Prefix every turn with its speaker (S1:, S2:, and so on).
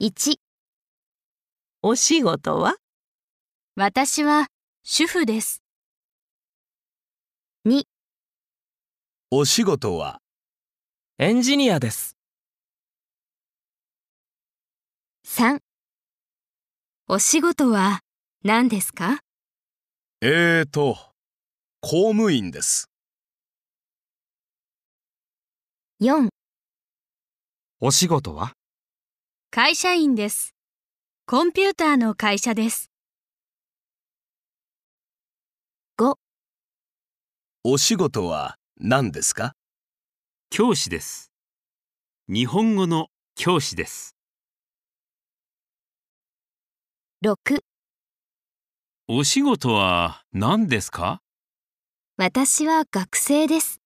S1: 1、
S2: お仕事は
S3: 私は主婦です。
S4: お仕事は
S5: エンジニアです。
S3: 3お仕事は何ですか
S4: えーと公務員です
S3: 4
S6: お仕事は
S3: 会社員です。コンピューターの会社です。
S4: お仕事は何ですか
S7: 教師です。日本語の教師です。
S3: 6
S7: お仕事は何ですか
S3: 私は学生です。